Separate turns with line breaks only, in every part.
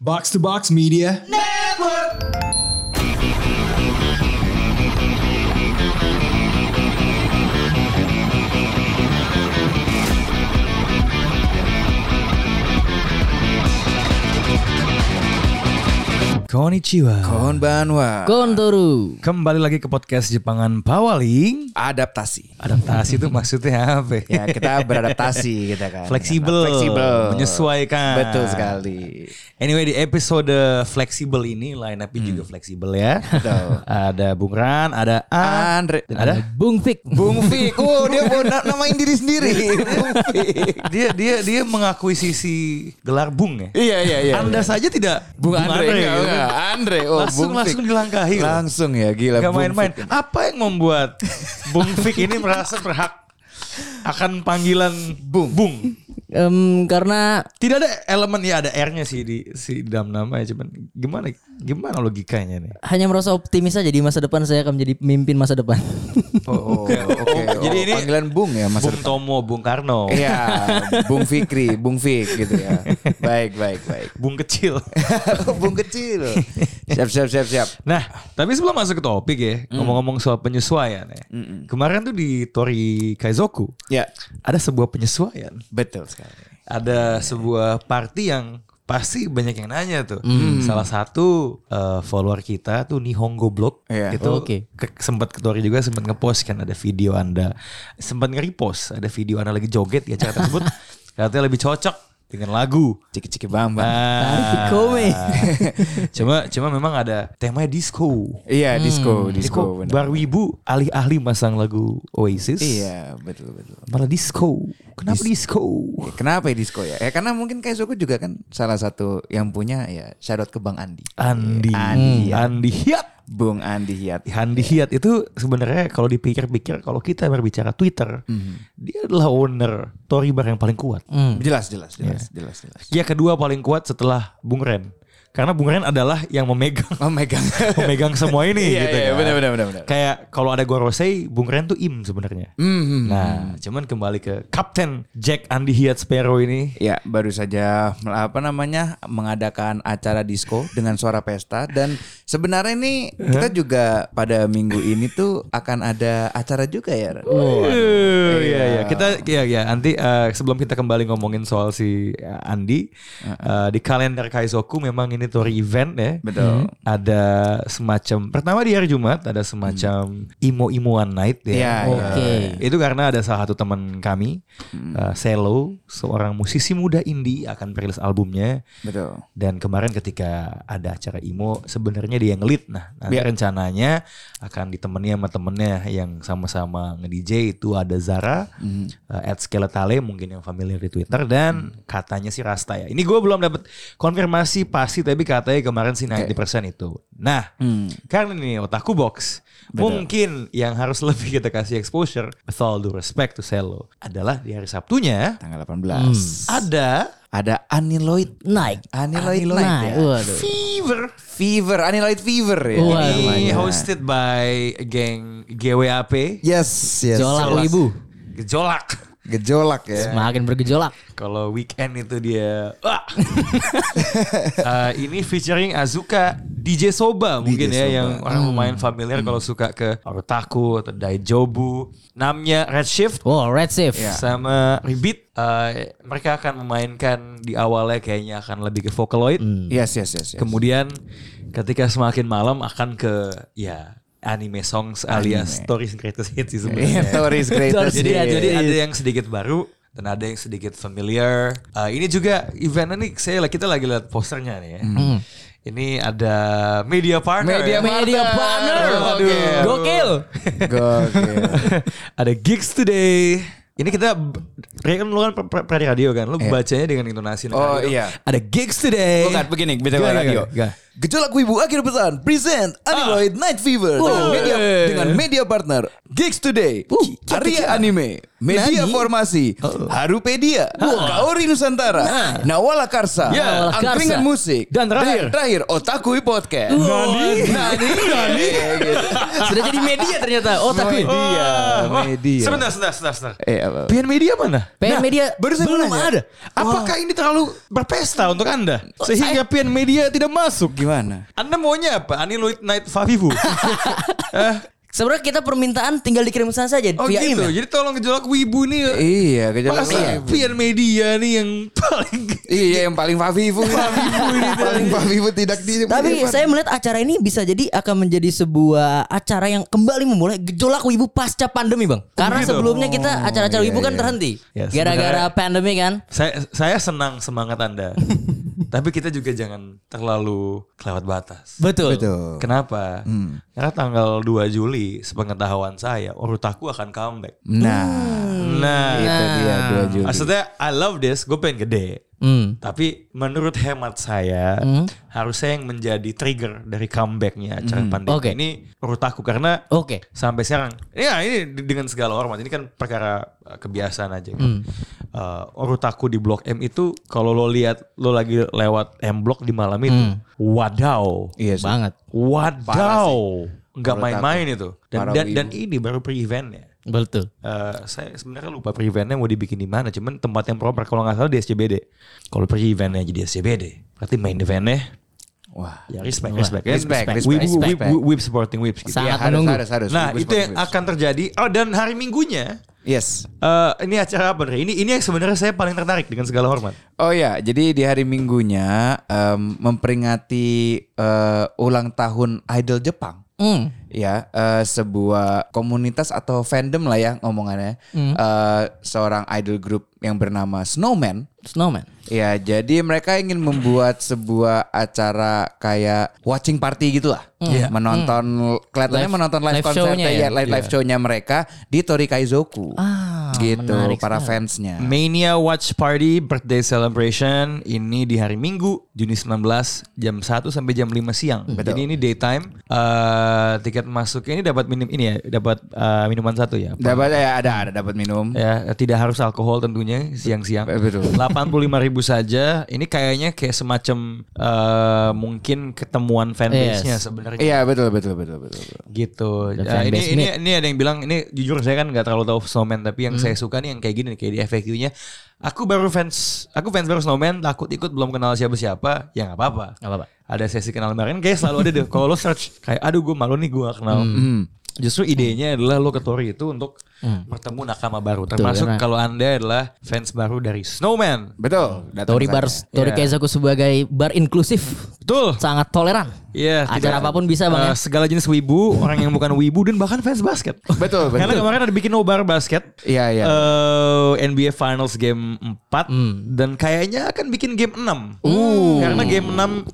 Box to Box Media.
Konnichiwa
Konbanwa.
Kontoru.
Kembali lagi ke podcast Jepangan Pawaling
Adaptasi.
Adaptasi itu maksudnya apa
Ya, kita beradaptasi kita kan.
Fleksibel,
Fleksibel.
menyesuaikan.
Betul sekali.
Anyway di episode fleksibel ini line up juga fleksibel ya
Betul.
Ada Bung Ran, ada A,
Andre.
Ah. dan ada
Bung Fik.
Bung Fik. Oh, dia mau na- namain diri sendiri. Bung Fik.
dia dia dia mengakui sisi gelar Bung ya.
Iya, iya, iya.
Anda
iya.
saja tidak
Bung Andre. enggak,
ya.
enggak. Andre. Oh,
langsung
Bung Fik.
langsung dilangkahi. loh.
Langsung ya, gila.
Gak
Bung
main-main.
Fik.
Apa yang membuat Bung Fik ini merasa berhak akan panggilan Bung? Bung.
Em, karena
Tidak ada elemen ya ada R-nya sih di si dalam nama ya, cuman gimana gimana logikanya nih?
hanya merasa optimis saja di masa depan saya akan menjadi pemimpin masa depan.
Oh, oke. Oh,
Jadi ini-
panggilan Bung ya Mas.
Bung Tomo, Bung Karno,
Iya, Bung Fikri, Bung Fik gitu ya. Baik, baik, baik.
Bung kecil.
Bung kecil. Siap, siap, siap, siap.
Nah, tapi sebelum masuk ke topik ya, ngomong-ngomong soal penyesuaian ya. Kemarin tuh di Tori Kaizoku
Ya,
ada sebuah penyesuaian.
betul sekali.
ada sebuah party yang pasti banyak yang nanya tuh. Salah satu eh, follower kita tuh Nihongo Blog
Iya.
itu
Oke.
ke- sempat ketori juga sempat ngepost kan ada video Anda sempat nge-repost ada video Anda lagi joget di acara tersebut katanya lebih cocok dengan lagu.
Ciki-ciki Bambang.
Nah,
Kome.
cuma cuma memang ada temanya disco.
Iya, disco,
Jadi
disco.
kok
benar.
Barwibu alih-alih masang lagu Oasis
Iya, betul betul.
malah disco. Kenapa disco?
Ya, kenapa ya disco ya? Ya karena mungkin Kaizoku juga kan salah satu yang punya ya shout out ke Bang Andi. Iya,
Andi, Hmm.
Andi.
Andi Hiat.
Bung Andi Hiat.
Handi Hiat itu sebenarnya kalau dipikir-pikir kalau kita berbicara Twitter,
Mhm.
dia adalah owner Tory Bar yang paling kuat.
Hmm. Jelas jelas
Iya.
jelas jelas jelas.
Dia kedua paling kuat setelah Bung Ren. Karena Bung Ren adalah yang memegang
Oh my god.
memegang semua ini
Iya,
gitu
iya,
kan.
benar, benar, benar, benar.
Kayak kalau ada Gorosei, Bung Ren tuh im sebenarnya.
Mhm.
Nah, cuman kembali ke Kapten Jack Andi Hiat Sparrow ini
Ya, baru saja mel- apa namanya mengadakan acara disco dengan suara pesta dan sebenarnya ini kita juga pada minggu ini tuh akan ada acara juga ya. Ren?
Waduh, iya iya. Kita iya iya nanti eh, sebelum kita kembali ngomongin soal si eh, Andi eh, di kalender Kaizoku memang ini tour event ya.
Betul.
Hmm. Ada semacam pertama di hari Jumat ada semacam imo-imoan night
Hmm.
ya.
Iya,
Eh,
Oke.
Itu karena ada salah satu teman kami,
Hmm.
eh, Selo, seorang musisi muda indie akan rilis albumnya.
Betul.
Dan kemarin ketika ada acara IMO sebenarnya dia yang lead nah nanti
Iya.
rencananya akan ditemani sama temennya yang sama-sama nge-DJ itu ada Zara, eh, Ed Skeletale mungkin yang familiar di Twitter dan katanya si Rasta ya. Ini gue belum dapat konfirmasi pasti tapi katanya kemarin sih 90% itu. Nah, karena ini otakku box. Mungkin yang harus lebih kita kasih exposure with all due respect to Selo adalah di hari Sabtunya
Tanggal 18.
Hmm. ada
Ada Aniloid.
Naik.
Aniloid, Night
Aniloid Night,
ya.
waduh.
fever
Fever, Aniloid Fever ya.
Wah,
Ini
namanya.
hosted by geng GWAP.
Yes, yes.
Gejolak
Gejolak.
wibu.
Gejolak.
Gejolak ya.
Semakin bergejolak.
Kalau weekend itu dia. Wah. Eh, ini featuring Azuka DJ Soba mungkin ya yang orang lumayan familiar kalau suka ke Otaku atau Daijobu. Namanya Redshift
Wow, Oh, red shift.
Iya. sama Ribit. Eh, mereka akan memainkan di awalnya kayaknya akan lebih ke Vocaloid.
Yes, yes, yes. yes.
Kemudian ketika semakin malam akan ke ya anime songs alias stories and greatest hits sih
Iya,
sebenarnya.
Tories
Tories
Greatest.
jadi
Iya,
jadi
iya.
ada yang sedikit baru dan ada yang sedikit familiar. Eh, ini juga eventnya nih saya kita lagi lihat posternya nih ya. Ini ada media partner.
Hmm. Media
ya.
Media partner.
Waduh.
Gokil.
Gokil.
ada gigs today. Ini kita Ray, kan lu kan pra- pra- pra- di radio kan. Lu bacanya dengan intonasi
Iya. Oh,
radio.
iya.
Ada gigs today.
Bukan, begini, beda
Iya. Gimana,
radio.
gimana? Gimana?
Gejolak Wibu Akhir Pesan present Animaloid Night Fever dengan,
Wow.
media,
Eh.
dengan media partner Gigs Today, Arya Anime, Media
Nani.
Formasi, Harupedia, Kaori Nusantara, Nawala Karsa,
Yeah. Nawala Karsa.
Angkringan Musik,
Dan terakhir.
Otakui Podcast. Nani, Nani, Eh, gitu. Nani.
Sudah jadi media ternyata. Oh, tapi
Media,
Wah,
media.
Ah. Sebentar, sebentar, sebentar, sebentar.
Eh, apa?
PN Media mana?
PN Media
baru saya
belum
belum ada. Apakah ini terlalu berpesta untuk Anda? Sehingga PN Media tidak masuk.
Gimana?
Anda maunya apa? Aniloid Night Favivu?
sebenarnya kita permintaan tinggal dikirimkan saja
oh
via
gitu.
email.
Jadi tolong gejolak wibu nih.
Iya, gejolak
Masa PN Media nih yang paling
Iya, yang paling Favivu. paling Favivu tidak di.
Tapi saya melihat acara ini bisa jadi akan menjadi sebuah acara yang kembali memulai gejolak wibu pasca pandemi, Bang. Karena
gitu?
sebelumnya kita acara-acara wibu kan terhenti
Ya,
gara-gara
sebenarnya-
pandemi kan.
saya saya senang semangat Anda. Tapi kita juga jangan terlalu kelewat batas.
Betul.
Betul.
Kenapa? Karena tanggal 2 Juli sepengetahuan saya Urutaku akan comeback.
Nah,
Nah,
itu dia dua Juli.
maksudnya I love this, gue pengen gede.
Hmm.
Tapi menurut hemat saya harusnya yang menjadi trigger dari comebacknya acara pandemi
Oke.
ini menurut aku karena
Oke.
sampai sekarang ya ini di- dengan segala hormat ini kan perkara uh, kebiasaan aja gitu. Uh, Urutaku di Blok M itu kalau lo lihat lo lagi lewat M Blok di malam itu wadaw
Iya sih.
Banget.
wadaw nggak main-main itu dan
Parah
dan,
wibu.
dan ini baru pre-eventnya
Betul.
Eh, saya sebenarnya lupa pre-eventnya mau dibikin di mana. Cuman tempat yang proper kalau nggak salah di SCBD. Kalau pre-eventnya jadi SCBD, berarti main eventnya
Wah.
ya respect, respect, ya.
Respect, respect,
Whip, whip,
respect.
whip, whip supporting whips gitu.
Sangat
Iya,
menunggu.
Harus, harus, harus.
Nah
Wibu
itu yang
supporting
akan terjadi. Oh dan hari minggunya
Wibu. Yes.
eh ini acara apa nih? Ini ini yang sebenarnya saya paling tertarik dengan segala hormat.
Oh ya, jadi di hari Minggunya em, memperingati eh, ulang tahun Idol Jepang.
Hmm.
Ya, eh, sebuah komunitas atau fandom lah ya ngomongannya. Eh, seorang idol group yang bernama Snowman.
Snowman.
Ya, jadi mereka ingin membuat sebuah acara kayak watching party gitu lah.
Iya.
Menonton kelihatannya
Hmm. Live-
menonton live,
live
konsernya
show-nya
ya,
ya?
live, live show-nya mereka di Torikaizoku.
Ah,
gitu,
menarik
para
sekali.
fansnya.
Mania Watch Party Birthday Celebration ini di hari Minggu Juni 19 jam 1 sampai jam 5 siang.
Hmm,
Jadi ini daytime. Eh, tiket masuknya ini dapat minum ini ya, dapat eh, minuman satu ya.
Dapat ya ada ada dapat minum.
Ya, tidak harus alkohol tentunya siang-siang.
Eh, betul.
85.000 saja. Ini kayaknya kayak semacam eh, mungkin ketemuan fanbase-nya sebenarnya.
Iya betul betul betul betul. betul.
gitu.
Dan
Ya, ini
fanbase
ini ini ada yang bilang ini jujur saya kan nggak terlalu tahu snowman tapi yang saya
Hmm.
suka nih yang kayak gini nih, kayak di FAQ-nya. Aku baru fans, aku fans baru snowman, takut ikut belum kenal siapa-siapa, ya nggak apa-apa.
Nggak apa-apa.
Ada sesi kenal kemarin kayak selalu ada deh. Kalau lo search kayak aduh gue malu nih gue nggak kenal.
Hmm.
Hmm.
Justru idenya adalah lo ke Tori itu untuk
Hmm.
bertemu nakama baru. Termasuk
karena-
kalau anda adalah fans baru dari Snowman.
Betul. datang
Tori
sana.
Bar Tori
Iya.
Keizaku sebagai bar inklusif
Betul.
sangat toleran.
Iya,
Acara
tidak-
apapun bisa, Bang,
eh,
ya?
Segala jenis wibu, orang yang bukan wibu dan bahkan fans basket.
Betul betul.
Karena kemarin ada bikin nobar basket.
Iya iya.
Eh, NBA Finals game 4
Hmm.
dan kayaknya akan bikin game 6. Karena game 6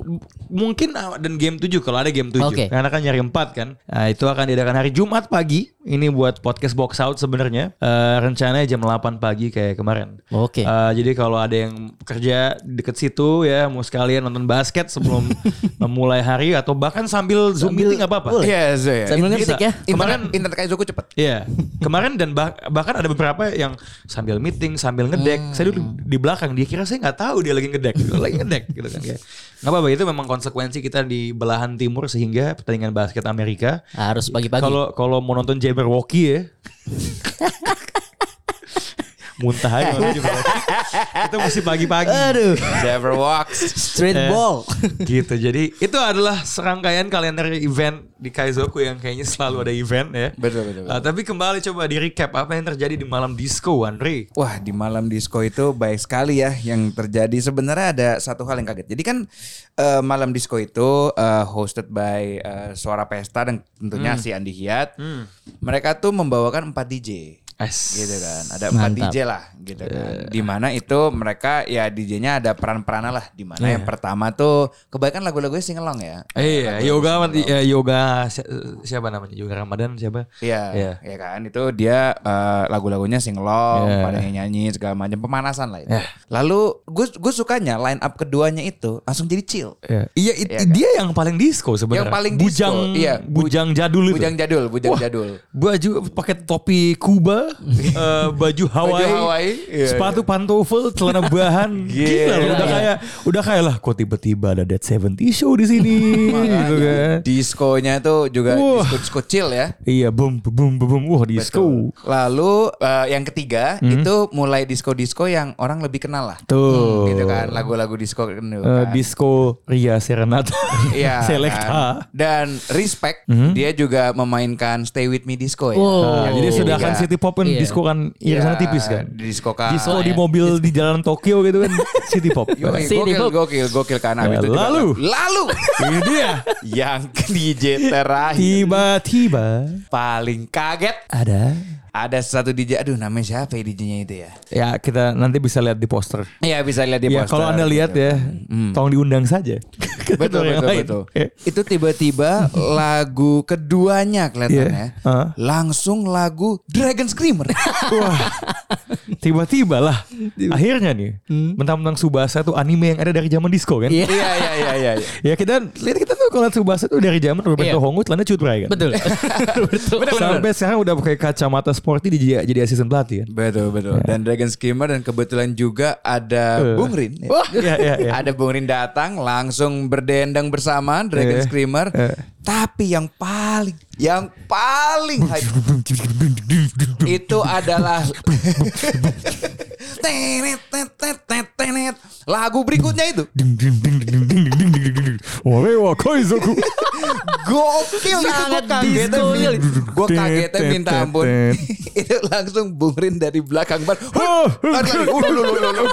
mungkin ah, dan game 7 kalau ada game 7.
Oke.
Karena kan nyari 4 kan. Nah, itu akan diadakan hari Jumat pagi. Ini buat podcast box out sebenarnya. Eh, rencananya jam 8 pagi kayak kemarin.
Oke.
Eh, jadi kalau ada yang kerja deket situ ya mau sekalian nonton basket sebelum memulai hari atau bahkan sambil Zoom meeting nggak apa-apa.
boleh.
Iya so, ya.
Sambil
bisa.
ngetik ya.
Kemarin-
Kemarin internet kayak Zoku cepet.
Iya, kemarin dan bah- bahkan ada beberapa yang sambil meeting, sambil ngedek. Saya dulu di belakang, dia kira saya nggak tahu dia lagi ngedek, Dia lagi ngedek gitu kan. Kayak, Nggak apa-apa, itu memang konsekuensi kita di belahan timur sehingga pertandingan basket Amerika.
Harus pagi-pagi.
Kalau kalau mau nonton Jabberwocky ya, muntah aja nonton Jabberwocky. Itu mesti pagi-pagi.
Aduh,
Never walks.
street
Eh.
ball.
gitu jadi itu adalah serangkaian kalender event di Kaizoku yang kayaknya selalu ada event ya
Betul, betul, betul.
Ah, tapi kembali coba di recap apa yang terjadi di malam disco Andre
Wah di malam disco itu baik sekali ya yang terjadi sebenarnya ada satu hal yang kaget. Jadi kan eh, malam disco itu eh, hosted by eh, Suara Pesta dan tentunya si Andi Hiat. Mereka tuh membawakan 4 DJ. gitu kan. Ada empat
Mantap.
DJ lah gitu kan. Di mana itu mereka ya DJ-nya ada peran-perannya lah. Di mana yang pertama tuh kebanyakan lagu-lagunya singelong ya.
Iya, yoga amat, eh, yoga si- siapa namanya? Yoga Ramadan siapa?
Iya,
Iya.
ya kan itu dia eh, lagu-lagunya singelong,
Iya.
pada yang nyanyi segala macam pemanasan lah itu. Lalu gue gue sukanya line up keduanya itu langsung jadi chill.
Iya, iya, it-
Iya kan?
dia yang paling disco
Yang
sebenarnya.
paling disco,
bujang,
iya. Bu-
bujang jadul itu.
Bujang jadul, bujang
Wah.
jadul.
baju pakai topi Kuba, eh, baju Hawaii,
Hawaii, iya,
sepatu pantofel, celana bahan, gila, loh, udah kayak udah kayak lah kok tiba-tiba ada Dead 70 show di sini gitu kan.
Diskonya tuh juga
Wah.
disco, disco chill ya.
Iya, boom boom boom, wah disco. Hmm.
Lalu eh, yang ketiga itu mulai disco-disco yang orang lebih kenal lah.
Tuh.
Gitu kan, lagu-lagu disco gitu
Oh. Eh,
kan.
disco Ria Serenata.
Iya. kan.
Selecta.
Dan Respect dia juga memainkan Stay With Me Disco ya.
Wow.
Yang
Nah, jadi
ketiga.
sudah kan city pop kan
Iya.
disco kan irisannya tipis kan.
Di disco kan.
Disco di mobil di jalan Tokyo gitu kan city pop.
Yoi,
City
gokil,
pop.
gokil, gokil kan abis
Ya,
itu juga-
lalu.
lalu
Ini dia.
yang ke DJ terakhir
Tiba-tiba
Iya. paling kaget
ada
ada satu DJ aduh namanya siapa ya DJ-nya itu ya?
ya kita nanti bisa lihat di poster.
Iya bisa lihat di
ya
poster. Hmm.
kalau anda lihat ya, tolong diundang saja.
betul
Orang
betul
lain.
betul.
Ya.
Itu tiba-tiba lagu keduanya kelihatannya
Iya. Heeh.
langsung lagu Dragon Screamer.
Wah, tiba-tiba lah. Akhirnya nih, mentang-mentang Subasa tuh anime yang ada dari zaman disco kan?
Iya.
Hmm. Iya iya iya iya. iya.
Ya kita lihat kita tuh kalau lihat Subasa tuh dari zaman Roberto
Iya.
Hongo celana cutray kan.
Betul. Betul.
Sampai sekarang udah pakai kacamata sporty jadi jadi asisten pelatih kan.
Betul betul. Dan Dragon Screamer dan kebetulan juga ada Bung Rin.
Eh. Iya, iya, iya.
Ada Bung Rin datang langsung berdendang bersama Dragon
Iya.
Screamer.
Iya.
Tapi yang paling yang paling hype itu adalah Tenet, tenet, tenet, tenet. lagu berikutnya itu
Ding ding ding ding ding ding ding ding ding. Ore wa kaizoku.
gokil itu gue
Sangat
kagetnya
disco-nya.
gue kagetnya minta ampun itu langsung Bung Rin dari belakang bar
Oh.
Lari lagi. Ulu, ulu, ulu, ulu.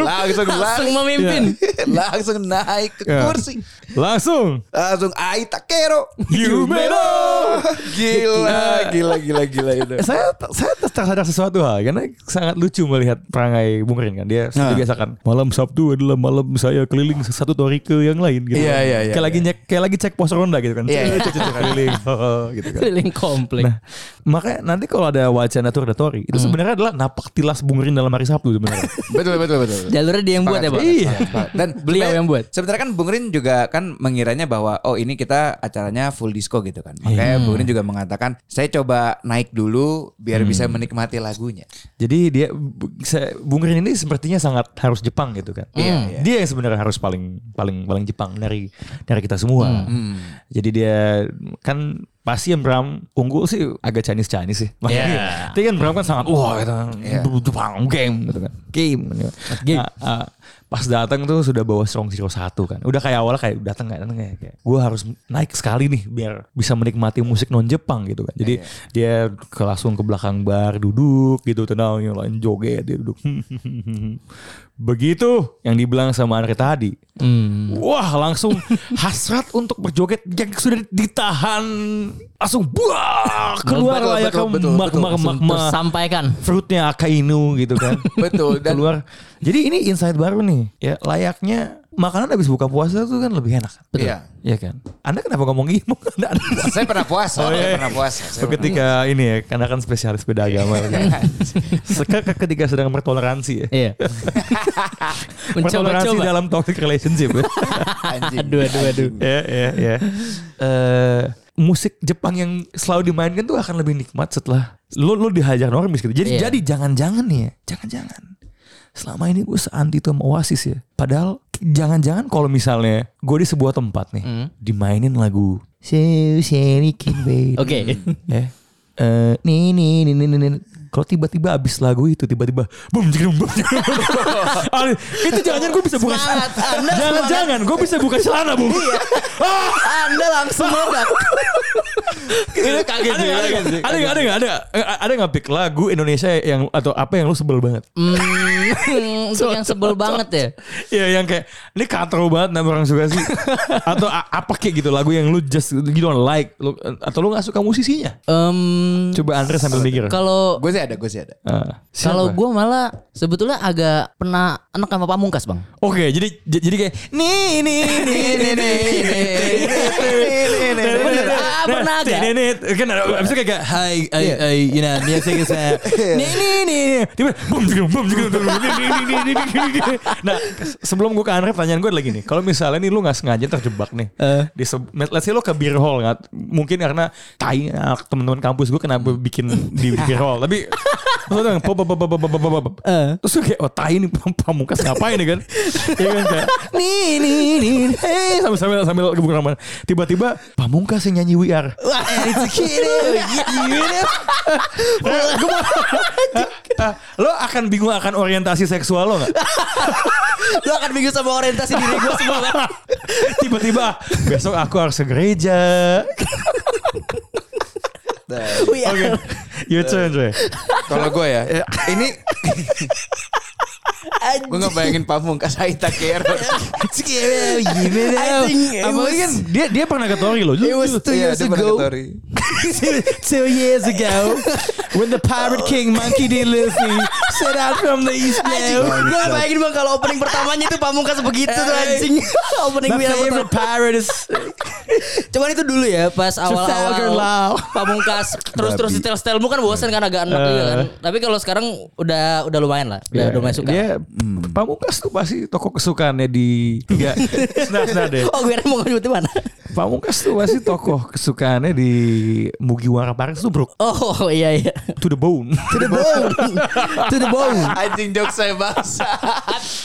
langsung
Langsung
lari
memimpin.
Iya.
langsung naik ke
Ya.
kursi
Langsung
langsung Aita Kero
Yumero.
gila gila gila gila itu
saya saya ter- tersadar sesuatu hal karena sangat lucu melihat perangai Bung Rin kan dia
Nah.
nah. biasakan malam Sabtu adalah malam saya keliling satu tori ke yang lain gitu.
Iya, iya, iya,
Kayak lagi nyek, kayak lagi cek pos ronda gitu kan.
Iya, iya.
Cek, cek, cek, keliling gitu kan.
Keliling komplek.
Nah, makanya nanti kalau ada wacana tour de tori itu sebenarnya adalah napak tilas Bung Rin dalam hari Sabtu sebenarnya.
betul betul betul
Jalurnya dia yang buat ya, Pak.
Iya.
dan
Beliau yang buat.
Sebenarnya kan Bung Rin juga kan mengiranya bahwa oh ini kita acaranya full disco gitu
Iya.
kan. Makanya Bung Rin juga mengatakan saya coba naik dulu biar
Hmm.
bisa menikmati lagunya.
Jadi dia bu- saya- Bung Rin ini sepertinya sangat harus Jepang gitu kan.
Iya,
Dia yang sebenarnya harus paling paling paling Jepang dari dari kita
Hmm,
semua. Jadi dia kan pasti yang Bram unggul sih agak Chinese Chinese sih. Makanya
Iya.
dia- dia kan Bram kan sangat wah itu
Iya.
itu Jepang game gitu kan. Game. gitu.
Game.
Nah, ah, pas datang tuh sudah bawa strong zero satu kan. Udah kayak awalnya kayak datang nggak datang kayak, kayak gue harus naik sekali nih biar bisa menikmati musik non Jepang gitu kan.
Iya,
Jadi dia ke langsung ke belakang bar duduk gitu tenang yang lain joget dia duduk. Begitu yang dibilang sama Andre tadi.
Hmm.
Hmm.
Wah langsung hasrat untuk berjoget yang sudah ditahan langsung buah keluar
Betul,
layak
betul, betul,
mak
betul.
mak mak
Langsung
mak
tersampaikan.
fruitnya akainu gitu kan.
Betul, dan-
keluar. Jadi ini insight baru nih. Ya layaknya makanan habis buka puasa tuh kan lebih enak.
Betul. Iya.
Iya kan. Anda kenapa ngomong gitu? Anda, anda puasa.
saya pernah puasa,
Oh, iya.
saya pernah puasa. Saya pernah-
Ketika ini ya, karena kan spesialis beda agama. kan. Seka- ketika sedang bertoleransi ya.
Iya.
Bertoleransi
Mencoba-coba.
dalam toxic relationship. ya.
Anjing.
Aduh, aduh, aduh.
ya, ya, ya. Eh, musik Jepang yang selalu dimainkan tuh akan lebih nikmat setelah lu lu dihajar normis gitu. Jadi
Iya.
jadi jangan-jangan nih ya, jangan-jangan. Selama ini gue seanti tuh sama Oasis ya. Padahal jangan-jangan kalau misalnya gue di sebuah tempat nih dimainin lagu Oke.
Oke.
Ya. Eh, nih nih nih nih nih. nih. Kalau tiba-tiba abis lagu itu tiba-tiba bum jigrum bum jigrum. Ah, itu jangan-jangan gue bisa buka
Semangat, Anda
Jangan-jangan gue bisa buka celana, Bung. Ah,
Anda langsung meledak.
Ada kaget ada nggak ada nggak? ada nggak ada nggak ada ada nggak pick lagu Indonesia yang atau apa yang lu sebel banget
Hmm, Untuk yang sebel banget ya.
ya yang kayak ini katro banget nama orang suka sih atau a- apa kayak gitu lagu yang lu just you don't like lu, atau lu nggak suka musisinya
Em,
coba Andre sambil mikir
kalau
Gue sih sih ada, gue sih ada.
Eh, siapa?
Kalau gue malah sebetulnya agak pernah enak sama pamungkas bang.
Oke, jadi j- jadi kayak nih nih nih nih nih
Bener, ah, pernah agak.
Nih nih kan ada- abis itu kayak eh, kayak, hi I
Iya.
I you know dia saya saya nih nih nih nih. tiba bum jung, bum jung, bum, nih, nih, nih, nih, nih, nih, nih. Nah, sebelum gue ke Andre pertanyaan gue lagi nih. Kalau misalnya nih lu nggak sengaja terjebak nih. Di se- let's say lu ke beer hall nggak? Mungkin karena tai ah, teman-teman kampus gue kenapa bikin di beer hall. Tapi lu tau nggak, pop, pop, pop, pop, pop, pop, pop. Terus gue kayak oh tai nih pamungkas ngapain ya kan? Iya kan kayak nih nih nih hey sambil sambil sambil gebuk ramban. Tiba-tiba pamungkas yang nyanyi We Are.
Wah, eh, it's a kid, you know.
Ah, lo akan bingung akan orientasi seksual lo nggak?
Lu akan bingung sama orientasi diri gue semua bang.
Tiba-tiba ah, besok aku harus ke gereja.
We are-
Oke, your turn Dre.
Kalau gue ya, ini
Anjing.
gue nggak bayangin pamungkas Aita Kero.
I think
Apalagi
it was-
kan dia dia pernah ke Tori lo.
It was two
Iya,
years
dia pernah ke
ago.
Tori.
Two years ago, when the pirate king Monkey D. Luffy set out from the East
Anjing, gue bayangin bang kalau opening pertamanya itu pamungkas begitu tuh anjing. opening
My
gue yang pertama.
favorite pirate is
Cuman itu dulu ya pas
Trafalgar Law.
awal-awal pamungkas terus-terus di setelmu kan bosan kan agak enak juga kan. Tapi kalau sekarang udah udah lumayan lah, udah udah masuk
Iya.
kan.
Dia hmm, Pamungkas tuh pasti toko kesukaannya di Enggak Senar senar deh
Oh gue kira mau nyebutin mana?
Pamungkas tuh pasti toko kesukaannya di Mugiwara Paris tuh bro
Oh iya iya.
To the bone
To the bone. to the bone.
Anjing jok saya bangsat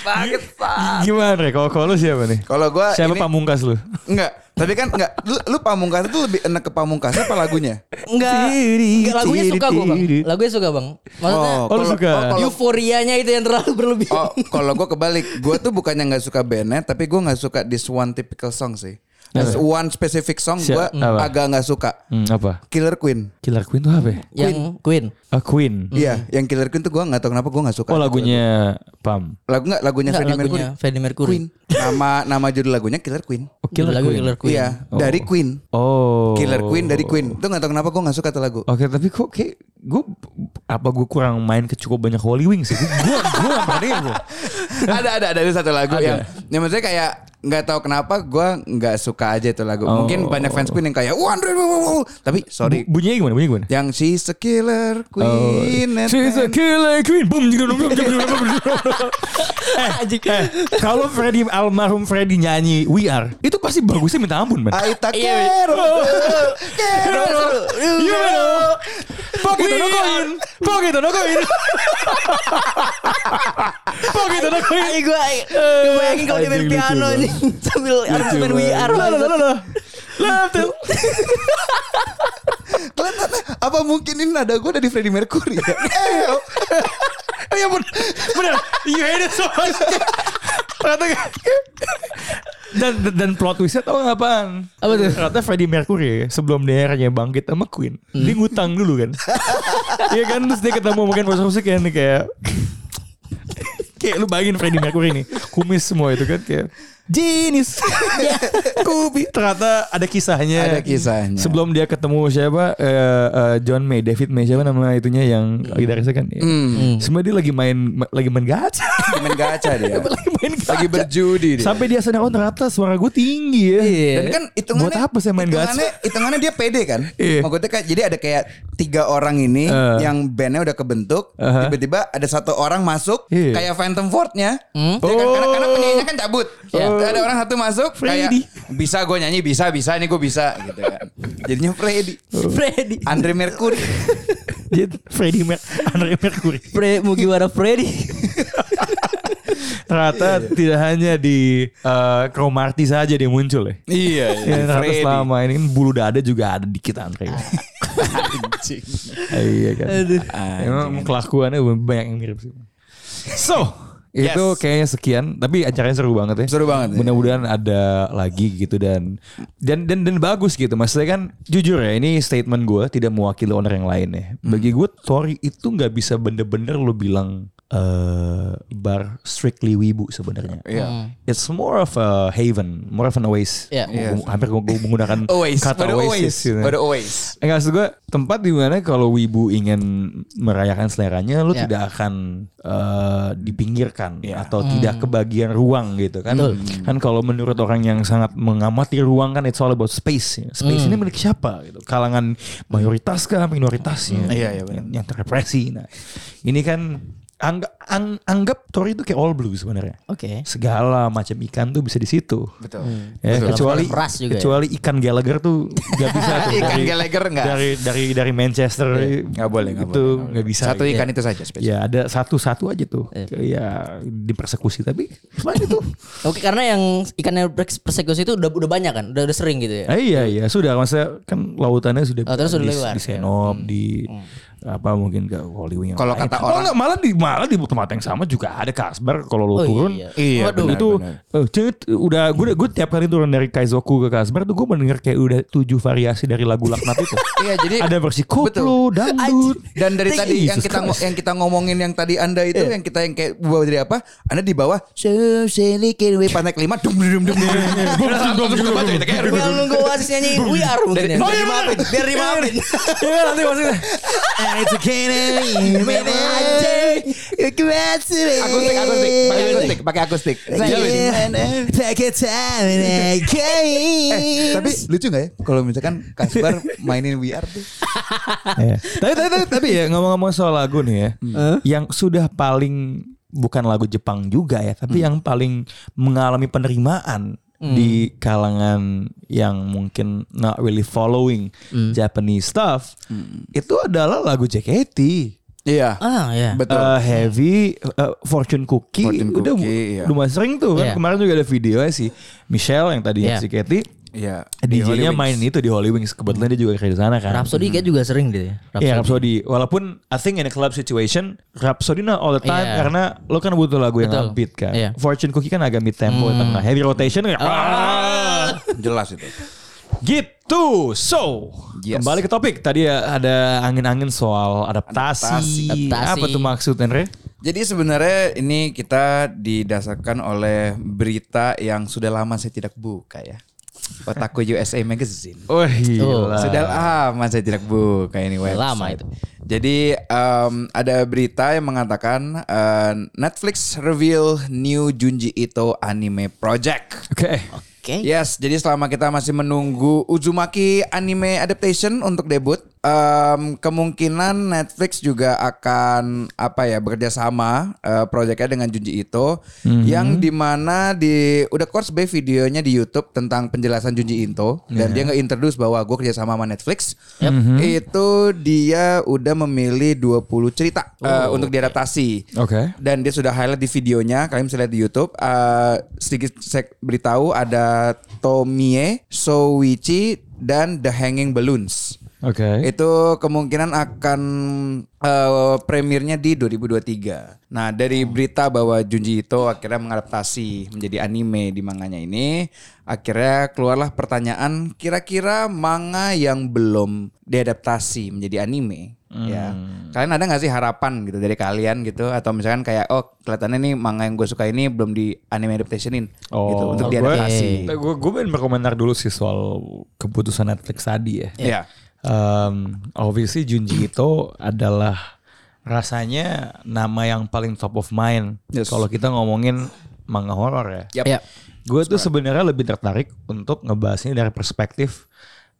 banget pak.
Gimana Re? Kalau kalau lu siapa nih?
Kalau gue
Siapa
Eh, ini
pamungkas lu?
enggak. Tapi kan enggak. Lu, lu pamungkas itu lebih enak ke pamungkas apa lagunya?
Enggak. Enggak lagunya suka gue bang. Lagunya suka bang. Maksudnya
Oh, lu
kalau-
suka?
oh, kalau-
euforianya itu yang terlalu berlebihan.
Oh, kalau gue kebalik, gue tuh bukannya nggak suka bandnya, tapi gue nggak suka this one typical song sih. This one specific song gue
Siap, apa?
agak nggak suka.
Hmm, apa?
Killer Queen.
Killer Queen tuh apa ya?
Yang Queen.
A Queen
Iya, yang Killer Queen tuh gue nggak tahu kenapa gue nggak suka.
Hmm. Oh lagunya Pam
Lagu nggak lagunya
Enggak
Freddie Mercury.
lagunya Freddie Mercury.
Queen. Nama nama judul lagunya Killer Queen.
Oh, Killer
Lagu
Queen.
Killer Queen.
Iya,
Oh.
dari Queen.
Oh
Killer Queen dari Queen. Tuh nggak tahu kenapa gue nggak suka tuh lagu.
Oke tapi kok kayak gue apa gue kurang main ke cukup banyak Holy Wings sih? Gue gue apa nih gue?
ada ada ada ada satu lagu
Ada.
yang yang maksudnya kayak nggak tahu kenapa gue nggak suka aja itu lagu.
Oh.
Mungkin banyak fans Queen yang kayak wah Andre, wah, wah, wah." tapi sorry
Bunyinya gimana? Bunyinya gimana?
yang she's a killer queen and-
Oh, She's a killer queen. Boom. jing, dong, dong, dong, dong, dong, dong.
Anjing.
eh, kalau Freddy almarhum Freddy nyanyi We Are, itu pasti bagusnya minta ampun, man.
Aita
Iya,
Kero Kero
You know. Pocket no coin. Pocket no coin.
gitu,
Pocket no coin.
Ayo gue
Eh,
Gue bayangin kalau dia main
Anjing, lucu
piano
banget.
nih Sambil harus main We Are
La la la la, la. Left it.
Kelihatan apa mungkin ini nada gue dari Freddie Mercury ya? Eh,
Oh ya bener, bener. You hate it so much. Ternyata dan dan- dan plot twistnya tau nggak apaan?
Apa tuh?
Ternyata Freddie Mercury sebelum daerahnya bangkit sama Queen, dia ngutang dulu kan? Iya kan terus dia ketemu mungkin musik musik yang kan? kayak kayak lu bayangin Freddie Mercury nih kumis semua itu kan kayak jenis kubi ternyata ada
Ada
kisahnya
kisahnya.
sebelum dia ketemu siapa eh, eh, John May David May siapa nama itunya yang gitarisnya kan ya. Sebenarnya dia lagi main ma- lagi main gacha.
main gacha dia
lagi main gacha.
lagi berjudi dia
Sampai dia sadar oh ternyata suara gue tinggi ya.
Iya.
dan kan hitungannya
Buat apa saya main
hitungannya,
gacha?
hitungannya dia pede kan
Iya.
maksudnya kayak jadi ada kayak tiga orang ini
Eh.
yang bandnya udah kebentuk
Aha.
tiba-tiba ada satu orang masuk
Iya.
kayak Phantom Fordnya ya kan? karena, karena
Oh.
penyanyinya kan cabut
Iya.
ada orang satu masuk
Freddy.
kayak bisa gue nyanyi bisa bisa nih gue bisa gitu kan jadinya Freddy
Freddy
Andre Mercury
Dia Freddie Mer Andre Mercury.
Fre Mugiwara Freddy
Ternyata tidak hanya di eh, Cromarty saja dia muncul ya.
iya
Ya, ternyata selama ini kan bulu dada juga ada dikit Andre. iya kan. Emang kelakuannya banyak yang mirip sih. So,
Yes.
itu kayaknya sekian. Tapi acaranya seru banget ya.
Seru banget ya.
Mudah-mudahan ada lagi gitu dan dan dan dan bagus gitu. Maksudnya kan jujur ya ini statement gue tidak mewakili owner yang lain ya. Bagi gue Tori itu nggak bisa bener-bener lo bilang eh, bar strictly wibu sebenarnya.
Iya.
Hmm.
It's more of a haven, more of an oasis.
Iya.
Gua- gua- Hampir gue menggunakan
Always,
kata
pada
oasis.
always,
gitu.
pada always.
Enggak maksud gue tempat di mana kalau wibu ingin merayakan seleranya lu
Ya.
tidak akan eh, dipinggirkan
Ya.
atau
Hmm.
tidak kebagian ruang gitu kan. Kan kalau menurut orang yang sangat mengamati ruang kan it's all about space. ya. Space
Hmm.
ini milik siapa gitu. Kalangan mayoritas kah minoritasnya
Iya, iya, benar.
yang, yang terrepresi. Nah, ini kan angga- ang- anggap Tori itu kayak all blue sebenarnya.
Oke.
Segala macam ikan tuh bisa di situ.
Betul. Eh,
Ya,
Betul.
kecuali
Dalam ras juga ya.
kecuali ikan Gallagher tuh gak bisa tuh
Ikan
dari-
Gallagher nggak? Iya.
dari dari dari Manchester
Nggak boleh, nggak
itu
boleh, nggak
nggak bisa
Satu Iya.
gitu.
ikan itu saja spesies.
ya ada satu satu aja tuh ya dipersekusi tapi selain itu
Oke, karena yang ikannya persekusi itu udah udah banyak kan? Udah udah sering gitu ya.
ah, iya iya sudah maksudnya kan lautannya sudah
Oh,
Lautannya sudah
di,
lebar.
di Senop di apa mungkin ke Hollywood
Iya. Hmm.
yang
Kalau
lain.
kata
Oh,
orang-
nggak, malah di malah di tempat yang sama juga ada Kasbar kalau lo
Oh,
turun
iya.
Iya,
Waduh,
benar,
itu
benar.
eh, cet, udah gue gue tiap kali turun dari Kaizoku ke Kasbar tuh gue mendengar kayak udah tujuh variasi dari lagu laknat itu
Iya, jadi
ada bersikoplo
Betul.
dangdut
Dan dari tadi yang
Jesus
kita ngo-
Christ. Iya.
yang kita ngomongin yang tadi Anda itu yang kita yang kayak bawa dari apa? Anda di bawah so selikin we pantai kelima dum dum dum dum.
Tinggal nunggu Oasis nyanyi We Are mungkin
Dari-
ya.
Oh,
Biar
iya,
dimaafin, biar dimaafin.
Iya nanti maksudnya gitu.
Akustik, akustik, pakai akustik, pakai akustik.
Iya.
Iya. Eh, tapi lucu gak ya kalau misalkan Kasbar mainin VR tuh?
Iya. tapi, tapi, tapi, tapi ya ngomong-ngomong soal lagu nih ya Yang sudah paling Bukan lagu Jepang juga ya Tapi yang paling mengalami penerimaan Di kalangan Yang mungkin not really following Japanese stuff Itu adalah lagu JKT
Iya.
Ah, ya.
Betul.
Eh, heavy eh, fortune cookie
Fortune
udah
Cookie, iya.
lumayan sering tuh kan
Iya.
kemarin juga ada video ya si Michelle yang tadi
Iya.
si Katy
Iya.
DJ-nya main itu di Holy Wings kebetulan dia juga kerja di sana kan
Rhapsody kayak juga sering deh.
Iya Rhapsody Walaupun I think in a club situation Rhapsody not all the time
Iya.
Karena lo kan butuh lagu yang
Betul.
upbeat kan
Iya. Hmm.
Fortune Cookie kan agak mid tempo tengah Heavy rotation kayak, "Ah!"
Jelas itu.
Gitu So
Yes.
Kembali ke topik Tadi ya ada angin-angin soal adaptasi.
Adaptasi.
Apa tuh maksudnya Re?
Jadi sebenarnya ini kita didasarkan oleh berita yang sudah lama saya tidak buka ya. Otaku USA Magazine.
Oh
iya.
gila.
Sudah
Sudah
lama saya tidak buka ini website.
Lama itu.
Jadi em, ada berita yang mengatakan eh, Netflix reveal new Junji Ito anime project.
Oke
Oke.
Yes, jadi selama kita masih menunggu Uzumaki anime adaptation untuk debut, em, kemungkinan Netflix juga akan apa ya bekerja sama eh, proyeknya dengan Junji Ito, yang dimana di udah course by videonya di YouTube tentang penjelasan Junji Ito dan dia nge-introduce bahwa gue kerja sama sama Netflix, itu dia udah memilih 20 cerita eh, untuk diadaptasi.
Oke.
Dan dia sudah highlight di videonya, kalian bisa lihat di YouTube. Eh, sedikit saya beritahu ada Tomie, Soichi dan The Hanging Balloons.
Oke.
Eh?
Itu kemungkinan akan eh, premiernya di 2023. Nah,
Oh.
dari berita bahwa Junji Ito akhirnya mengadaptasi menjadi anime di manganya ini, akhirnya keluarlah pertanyaan kira-kira manga yang belum diadaptasi menjadi anime, ya.
Hmm.
Kalian ada nggak sih harapan gitu dari kalian gitu atau misalkan kayak oh kelihatannya nih manga yang gue suka ini belum di anime adaptationin gitu
Oh,
untuk
gue-
diadaptasi.
Gue gue pengen berkomentar dulu sih soal keputusan Netflix tadi ya.
Iya.
Ya.
Um, obviously Junji Ito adalah rasanya nama yang paling top of mind
Yes.
kalau kita ngomongin manga horor ya.
Yap.
Iya.
Gue tuh sebenarnya lebih tertarik untuk ngebahas ini dari perspektif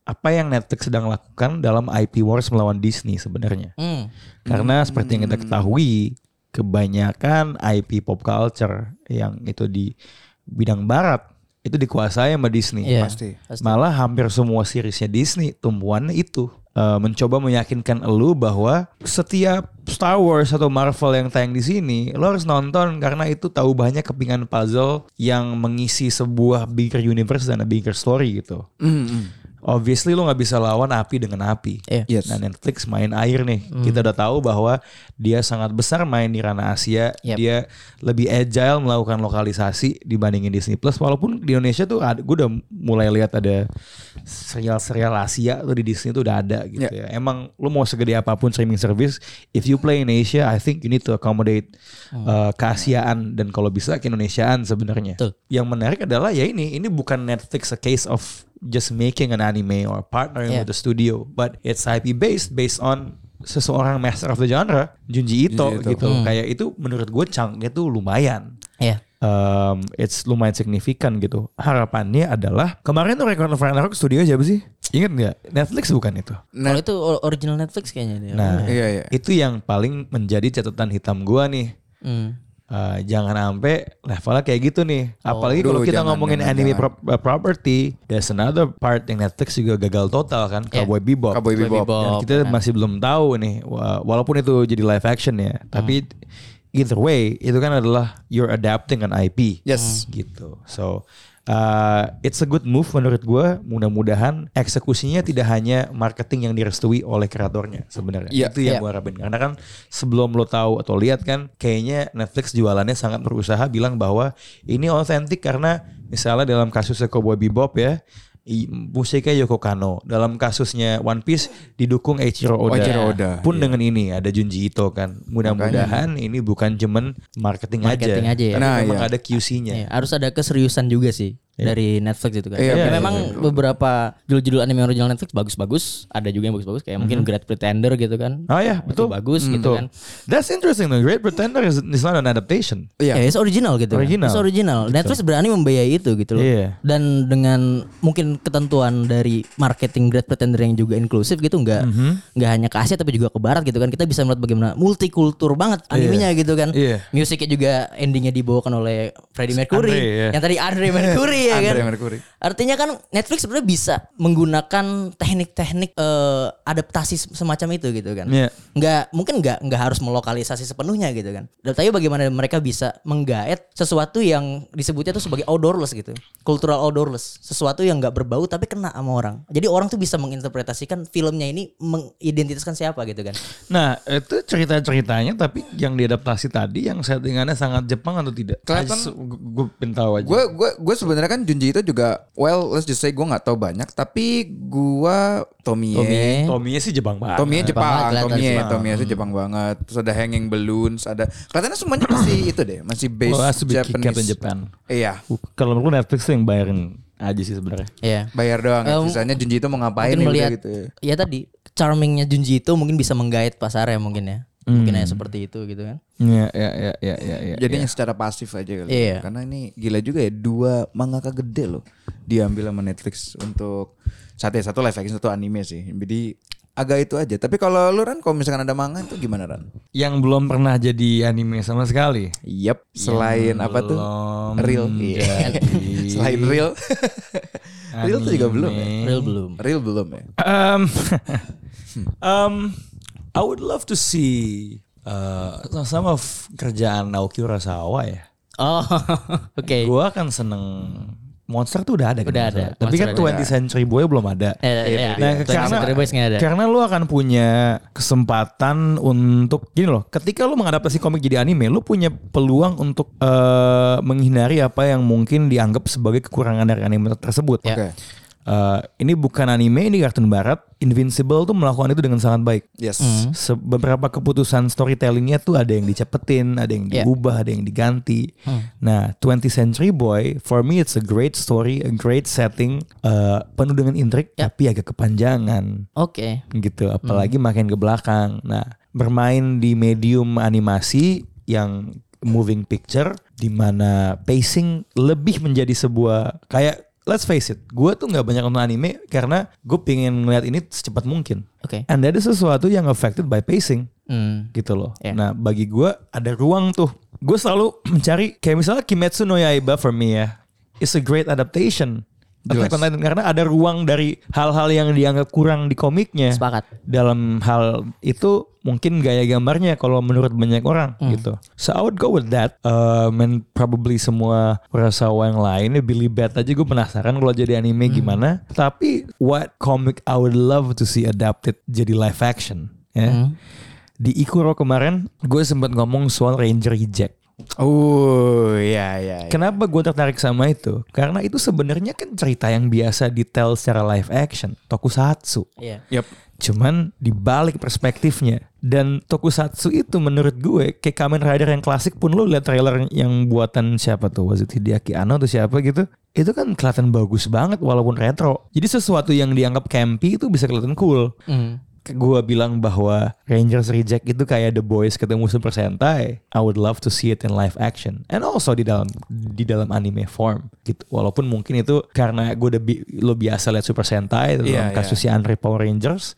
apa yang Netflix sedang lakukan dalam IP wars melawan Disney sebenarnya.
Hmm.
Karena seperti yang kita ketahui, kebanyakan IP pop culture yang itu di bidang barat itu dikuasai sama Disney.
Iya.
Pasti.
Malah hampir semua seriesnya Disney tumpuannya itu Eh, mencoba meyakinkan elu bahwa setiap Star Wars atau Marvel yang tayang di sini lo harus nonton karena itu tahu banyak kepingan puzzle yang mengisi sebuah bigger universe dan a bigger story gitu.
Mm, mm.
obviously lo nggak bisa lawan api dengan api.
Iya. Mm.
Yes.
Nah Netflix main air nih. Kita udah tahu bahwa dia sangat besar main di ranah Asia.
Yep.
Dia lebih agile melakukan lokalisasi dibandingin Disney Plus. Walaupun di Indonesia tuh ada, gue udah mulai lihat ada serial-serial Asia tuh di Disney tuh udah ada gitu ya. Emang lo mau segede apapun streaming service, if you play in Asia, I think you need to accommodate uh, keasiaan dan kalau bisa keindonesiaan sebenarnya.
Betul.
Yang menarik adalah ya ini, ini bukan Netflix a case of just making an anime or partnering
Yeah.
with the studio, but it's IP based based on seseorang master of the genre, Junji
Junji
Ito,
Ito.
gitu. Kayak itu menurut gue cangnya tuh lumayan.
Iya.
Um, it's lumayan signifikan gitu. Harapannya adalah kemarin tuh Record of Ragnarok studio siapa sih? Ingat nggak? Netflix bukan itu.
Kalau itu o- original Netflix kayaknya dia.
Nah,
Iya, iya.
itu yang paling menjadi catatan hitam gua nih.
Hmm.
Eh, jangan sampai levelnya kayak gitu nih. Apalagi
Oh,
kalau
Aduh,
kita
jangan,
ngomongin
jangan,
anime
jangan.
prop- eh, property, there's another part yang Netflix juga gagal total kan,
Yeah.
Cowboy Bebop.
Iya. Cowboy Bebop.
Bebop.
Dan kita masih belum tahu nih, wa- walaupun itu jadi live action ya, tapi either way itu kan adalah you're adapting an IP.
Yes.
Gitu. So uh, it's a good move menurut gua Mudah-mudahan eksekusinya tidak hanya marketing yang direstui oleh kreatornya sebenarnya.
Iya.
Itu yang
Iya.
gua harapin. Karena kan sebelum lo tahu atau lihat kan, kayaknya Netflix jualannya sangat berusaha bilang bahwa ini otentik karena misalnya dalam kasusnya Cowboy Bebop ya. i- Musiknya Yoko Kano dalam kasusnya One Piece didukung Eiichiro Oda,
Eiichiro Oda,
pun dengan ini ada Junji Ito kan mudah-mudahan ini bukan cuman marketing,
Marketing aja ya.
tapi
Nah,
memang
iya.
ada QC-nya
Iya, harus ada keseriusan juga sih dari Netflix itu kan.
Iya,
Ya,
iya,
memang beberapa judul-judul anime original Netflix bagus-bagus, ada juga yang bagus-bagus kayak mungkin Great Pretender gitu kan.
Oh ya,
Itu
betul.
bagus gitu
Betul.
kan.
That's interesting. The Great Pretender is, is not an adaptation.
Iya.
Ya, it's original gitu. kan.
Original.
It's original. Netflix berani membiayai itu gitu loh.
Iya.
Dan dengan mungkin ketentuan dari marketing Great Pretender yang juga inklusif gitu nggak
Mhm.
nggak hanya ke Asia tapi juga ke barat gitu kan. Kita bisa melihat bagaimana multikultur banget animenya gitu kan.
Iya.
Musiknya juga endingnya dibawakan oleh Freddie Mercury.
Andre, iya.
Yang tadi Andre Mercury ya kan.
Andre Mercury.
Artinya kan Netflix sebenarnya bisa menggunakan teknik-teknik eh, adaptasi sem- semacam itu gitu kan.
Iya.
Nggak mungkin nggak nggak harus melokalisasi sepenuhnya gitu kan. Dan Tapi bagaimana mereka bisa menggaet sesuatu yang disebutnya tuh sebagai outdoorless gitu, cultural outdoorless, sesuatu yang nggak berbau tapi kena sama orang. Jadi orang tuh bisa menginterpretasikan filmnya ini mengidentitaskan siapa gitu kan.
Nah, itu cerita-ceritanya tapi yang diadaptasi tadi yang settingannya sangat Jepang atau tidak?
Kelihatan-
gue pengen tahu aja.
Gue gue gue sebenarnya kan Junji itu juga well let's just say gue nggak tahu banyak tapi gue Tomie Tomie
Tommy-nya sih Jepang banget.
banget
Jepang,
kelihatan
Tomie
Jepang. Hmm.
Tomie itu Jepang banget. Terus ada Hanging Balloons, ada kelihatannya semuanya masih itu deh, masih based
Well,
Oh,
has to be kick
Japanese.
up in Oh, Japan.
Iya,
Kalau menurut gue Netflix tuh yang bayarin aja sih sebenarnya.
Iya.
bayar doang. ya.
Um,
Sisanya Junji itu mau ngapain
mungkin
nih, udah
melihat
gitu. ya.
ya tadi charmingnya Junji itu mungkin bisa menggait pasarnya mungkin ya. Mungkin hanya seperti itu gitu kan.
Iya, iya, iya, iya, iya. iya.
Jadinya secara pasif aja kali. ya.
Iya.
Karena ini gila juga ya dua mangaka gede loh diambil sama Netflix untuk satu ya, satu live action satu anime sih. Jadi agak itu aja. Tapi kalau lu Ran kalau misalkan ada manga itu gimana Ran?
Yang belum pernah jadi anime sama sekali.
Yep, selain apa tuh?
belum
Real. Iya. selain real. real tuh juga belum ya.
Real belum.
Real belum ya.
Um, um, I would love to see uh, some of kerjaan Naoki Urasawa ya.
Oh, oke.
Gua akan seneng Monster tuh udah ada kan?
Udah
Monster.
ada,
Tapi
Monster
kan
udah
20 Century Boy belum ada.
Eh, iya.
Nah, karena,
ada.
karena lu akan punya kesempatan untuk gini loh, ketika lu mengadaptasi komik jadi anime, lu punya peluang untuk eh, menghindari apa yang mungkin dianggap sebagai kekurangan dari anime tersebut.
Ya.
Oke.
Eh, ini bukan anime, ini kartun barat. Invincible tuh melakukan itu dengan sangat baik.
Yes.
Se- Beberapa keputusan storytellingnya tuh ada yang dicepetin, ada yang
Yeah.
diubah, ada yang diganti. Nah, 20th Century Boy, for me it's a great story, a great setting, eh, penuh dengan intrik, tapi agak kepanjangan
Oke.
gitu apalagi makin ke belakang nah bermain di medium animasi yang moving picture di mana pacing lebih menjadi sebuah kayak let's face it gue tuh nggak banyak nonton anime karena gue pengen ngeliat ini secepat mungkin
Oke.
and that is sesuatu yang affected by pacing
Hmm.
gitu loh.
Yeah.
Nah bagi gue ada ruang tuh. Gue selalu mencari kayak misalnya Kimetsu no Yaiba for me ya. It's a great adaptation.
Jelas.
Attack on Titan karena ada ruang dari hal-hal yang dianggap kurang di komiknya.
Sepakat.
Eh, Dalam hal itu mungkin gaya gambarnya kalau menurut banyak orang gitu. So I would go with that. Um, and probably semua Urasawa yang lain, ya, Billy Bat aja gue penasaran kalau jadi anime gimana. Tapi what comic I would love to see adapted jadi live action. Ya. Di Ikuro kemarin gue sempat ngomong soal Ranger Reject.
Oh iya iya. iya.
Kenapa gue tertarik sama itu? Karena itu sebenarnya kan cerita yang biasa detail secara live action, tokusatsu.
Iya.
Yep.
Cuman dibalik perspektifnya. Dan tokusatsu itu menurut gue kayak Kamen Rider yang klasik pun lo liat trailer yang buatan siapa tuh? Was it Hideaki Anno atau siapa gitu? Itu kan kelihatan bagus banget walaupun retro. Jadi sesuatu yang dianggap campy itu bisa kelihatan cool.
Hmm.
Gue bilang bahwa Rangers Reject itu kayak The Boys ketemu Super Sentai. I would love to see it in live action and also di dalam di dalam anime form gitu. Walaupun mungkin itu karena gue udah bi- lo biasa lihat Super Sentai dalam
Iya, iya.
kasus si Andre Power Rangers,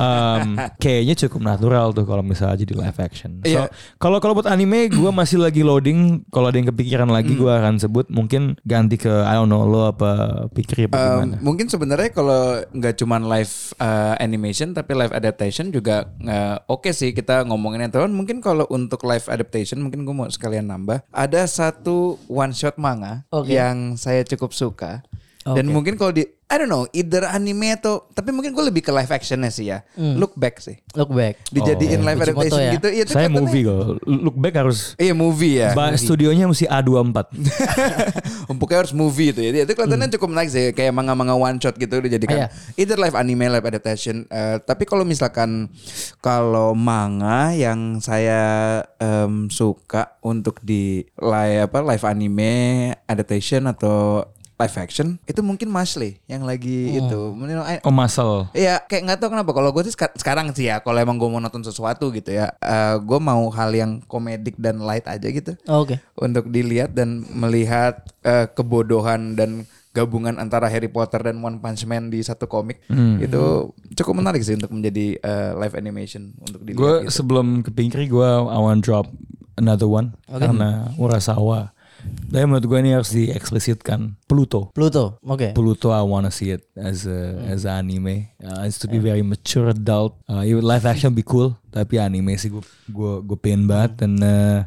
um, kayaknya cukup natural tuh kalau misalnya jadi live action.
Iya.
So, kalau kalau buat anime gue masih lagi loading. Kalau ada yang kepikiran lagi
Hmm.
gue akan sebut mungkin ganti ke I don't know lo apa pikir
Um,
apa gimana.
mungkin sebenarnya kalau nggak cuman live uh, animation tapi live adaptation juga uh, oke sih kita ngomongin teman mungkin kalau untuk live adaptation mungkin gue mau sekalian nambah ada satu one shot manga
Oke.
yang saya cukup suka dan
Oke.
mungkin kalau di I don't know either anime atau tapi mungkin gue lebih ke live actionnya sih ya
Hmm.
look back sih
Look back.
dijadiin live
Fujimoto
adaptation
ya?
gitu iya itu
Saya
kelihatannya-
movie kok. Look back harus
iya movie ya
Ba- studionya mesti A24.
Empuknya harus movie itu ya. Itu kelihatannya cukup menarik sih kayak manga-manga one shot gitu dijadikan
Ah, iya.
either live anime live adaptation. Eh, tapi kalau misalkan kalau manga yang saya em, suka untuk di live apa live anime adaptation atau live action itu mungkin Mashle yang lagi itu. Mungkin I-
Oh muscle.
Iya kayak nggak tahu kenapa kalau gue sih seka- sekarang sih ya kalau emang gue mau nonton sesuatu gitu ya eh, gue mau hal yang komedik dan light aja gitu
Oke.
untuk dilihat dan melihat eh, kebodohan dan gabungan antara Harry Potter dan One Punch Man di satu komik
Hmm.
itu cukup menarik sih untuk menjadi eh, live animation untuk dilihat.
Gue
gitu.
sebelum ke pinggir gue I want drop another one karena Urasawa. Tapi menurut gue ini harus dieksplisitkan. Pluto.
Pluto. Oke.
Pluto I wanna see it as a
Hmm.
as a anime. Uh, it's to be very mature adult. Uh, even live action be cool. Tapi anime sih gue gue gue pengen banget
Hmm.
dan uh,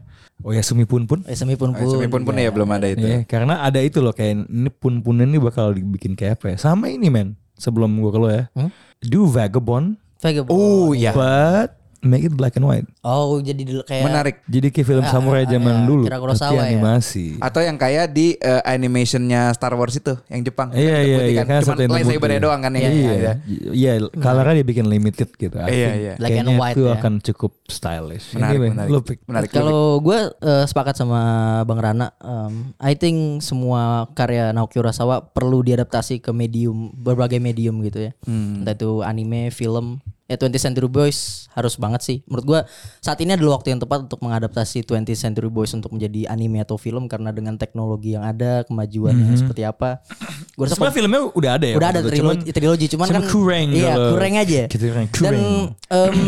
oh ya Sumi pun pun.
Eh, Semi pun
Eh,
pun.
Sumi pun pun ya belum ada
Gitu.
itu.
Iya, karena ada itu loh kayak ini pun punan ini bakal dibikin kayak apa ya. Sama ini men. Sebelum gue ke lo ya.
Hmm?
Do Vagabond.
Vagabond.
Oh iya.
But make it black and white.
Oh, jadi dulu kayak
Menarik.
Jadi kayak film samurai zaman
ya,
dulu
Kira Kurosawa
tapi
ya.
animasi.
Atau yang kayak di eh, animationnya Star Wars itu yang Jepang.
Iya
Yang
iya
putih
iya
kan. Cuman
satu yang
lightsabernya
putih.
doang kan yang
Iya.
ada.
Iya, colornya dia bikin limited gitu. I
Iya,
think
iya.
Black and
kayaknya
white
itu
ya.
akan cukup stylish.
Menarik,
Anyway,
menarik.
lu pick.
Menarik.
Kalau gue sepakat sama Bang Rana, em, I think semua karya Naoki Urasawa perlu diadaptasi ke medium berbagai medium gitu ya.
Hmm.
Entah itu anime, film. Ya 20th Century Boys harus banget sih. Menurut gue saat ini adalah waktu yang tepat untuk mengadaptasi 20th Century Boys untuk menjadi anime atau film karena dengan teknologi yang ada,
Hmm.
kemajuannya seperti apa. Gue rasa
Sebenarnya filmnya udah ada ya.
udah ada
waktu itu,
trilogi, trilogi cuman
cuman
kan
kurang
iya
kalau-
kurang aja
Gitu kan,
dan
kurang.
em,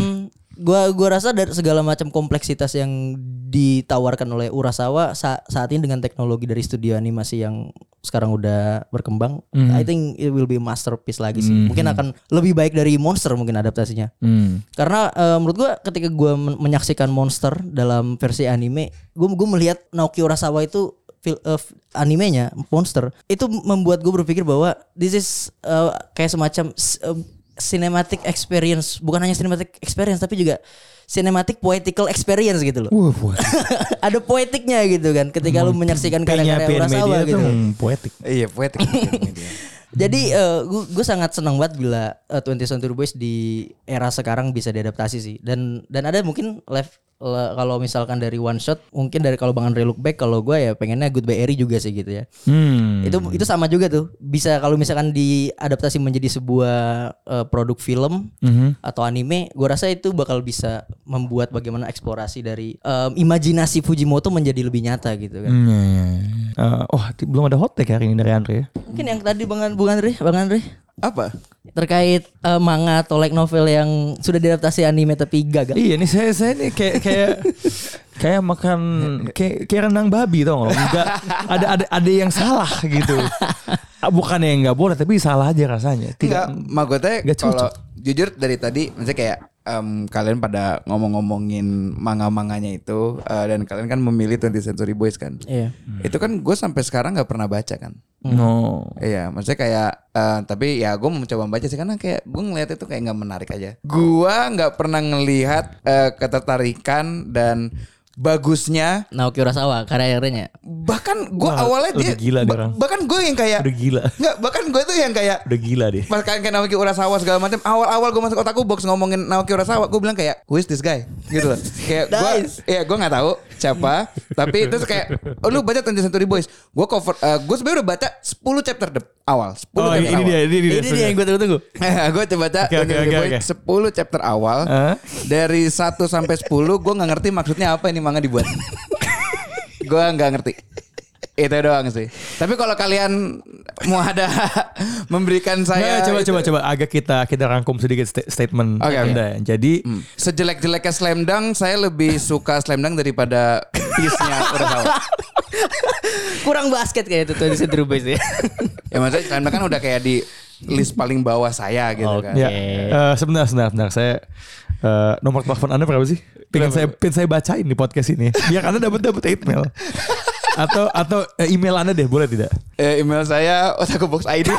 gua gua rasa dari segala macam kompleksitas yang ditawarkan oleh Urasawa sa- saat ini dengan teknologi dari studio animasi yang sekarang udah berkembang
Mhm.
I think it will be masterpiece lagi sih mungkin akan lebih baik dari Monster mungkin adaptasinya
Hmm.
karena eh, menurut gua ketika gua men- menyaksikan monster dalam versi anime, gua gua melihat Naoki Urasawa itu fil- eh, f- animenya monster itu membuat gue berpikir bahwa this is eh, kayak semacam s- eh, cinematic experience, bukan hanya cinematic experience tapi juga cinematic poetical experience gitu loh.
Wah, buat
Ada poetiknya gitu kan ketika lu menyaksikan
pengen
karya-karya
media
Urasawa
tuh hmm,
gitu.
poetik.
Iya, poetik.
Jadi eh, gue sangat senang banget bila eh, 20th Century Boys di era sekarang bisa diadaptasi sih. Dan dan ada mungkin live le- kalau misalkan dari one shot mungkin dari kalau Bang Andre look back kalau gue ya pengennya Goodbye Eri juga sih gitu ya.
Hmm.
Itu itu sama juga tuh. Bisa kalau misalkan diadaptasi menjadi sebuah eh, produk film
Mhm.
atau anime, gue rasa itu bakal bisa membuat bagaimana eksplorasi dari em, imajinasi Fujimoto menjadi lebih nyata gitu kan.
Hmm, iya, iya, iya. Eh, oh, t- belum ada hot take hari ini dari Andre ya.
Mungkin yang tadi Bang An- Bang Andre, Bang Andre
Apa?
terkait eh, manga atau like novel yang sudah diadaptasi anime tapi gagal.
Iya nih saya saya nih kayak kayak kayak makan kayak, kayak rendang babi tau nggak? Nggak- ada ada ada yang salah gitu. Ah, Bukan yang nggak boleh, tapi salah aja rasanya.
Enggak,
Tidak.
maksudnya
nggak cocok.
kalau jujur dari tadi maksudnya kayak em, kalian pada ngomong-ngomongin manga-manganya itu eh, dan kalian kan memilih 20th Century Boys kan.
Iya.
Hmm.
Itu kan gue sampai sekarang nggak pernah baca kan.
No.
Iya, maksudnya kayak eh, tapi ya gue mencoba baca sih karena kayak gue ngeliat itu kayak nggak menarik aja. Gua nggak pernah ngelihat eh, ketertarikan dan bagusnya.
Naoki Urasawa karirnya.
Bahkan gue
Wah,
awalnya dia
lebih gila dia orang.
bahkan gue yang kayak
Udah gila.
nggak bahkan gue tuh yang kayak
Udah gila deh.
Pas kalian kayak Naoki Urasawa segala macam, awal-awal gue masuk otakku box ngomongin Naoki Urasawa, gue bilang kayak who is this guy? Gitu loh. Kayak gue,
Nice.
ya gue nggak tahu siapa, tapi terus kayak, oh, lu baca Twenty Century Boys? Gue cover, gue sebenarnya udah baca 10 chapter de- awal, 10
Oh,
chapter
ini
awal.
dia, ini dia.
Ini dia yang gue tunggu-tunggu.
gue coba baca
Oke, oke,
Century
oke,
Boys
oke.
10 chapter awal
Hah?
dari 1 sampai 10 gue nggak ngerti maksudnya apa ini manga dibuat. gue nggak ngerti. Itu doang sih. Tapi kalau kalian mau ada memberikan saya
Nggak, Nah, coba
itu-
coba coba agak kita kita rangkum sedikit sta- statement
Gitu. Oke, Hmm, oke.
Anda. Jadi
Sejelek-jeleknya slam dunk, saya lebih suka slam dunk daripada piece-nya Urasawa.
Kurang basket kayak itu tuh di Century Boys ya.
Ya maksudnya slam dunk kan udah kayak di list paling bawah saya gitu kan.
ya eh, sebentar sebentar sebentar saya eh, nomor telepon Anda berapa sih? Pengen saya pengen saya bacain di podcast ini. Biar Anda dapat dapat email. atau atau eh, email Anda deh, boleh tidak?
Eh, email saya otakuboxid.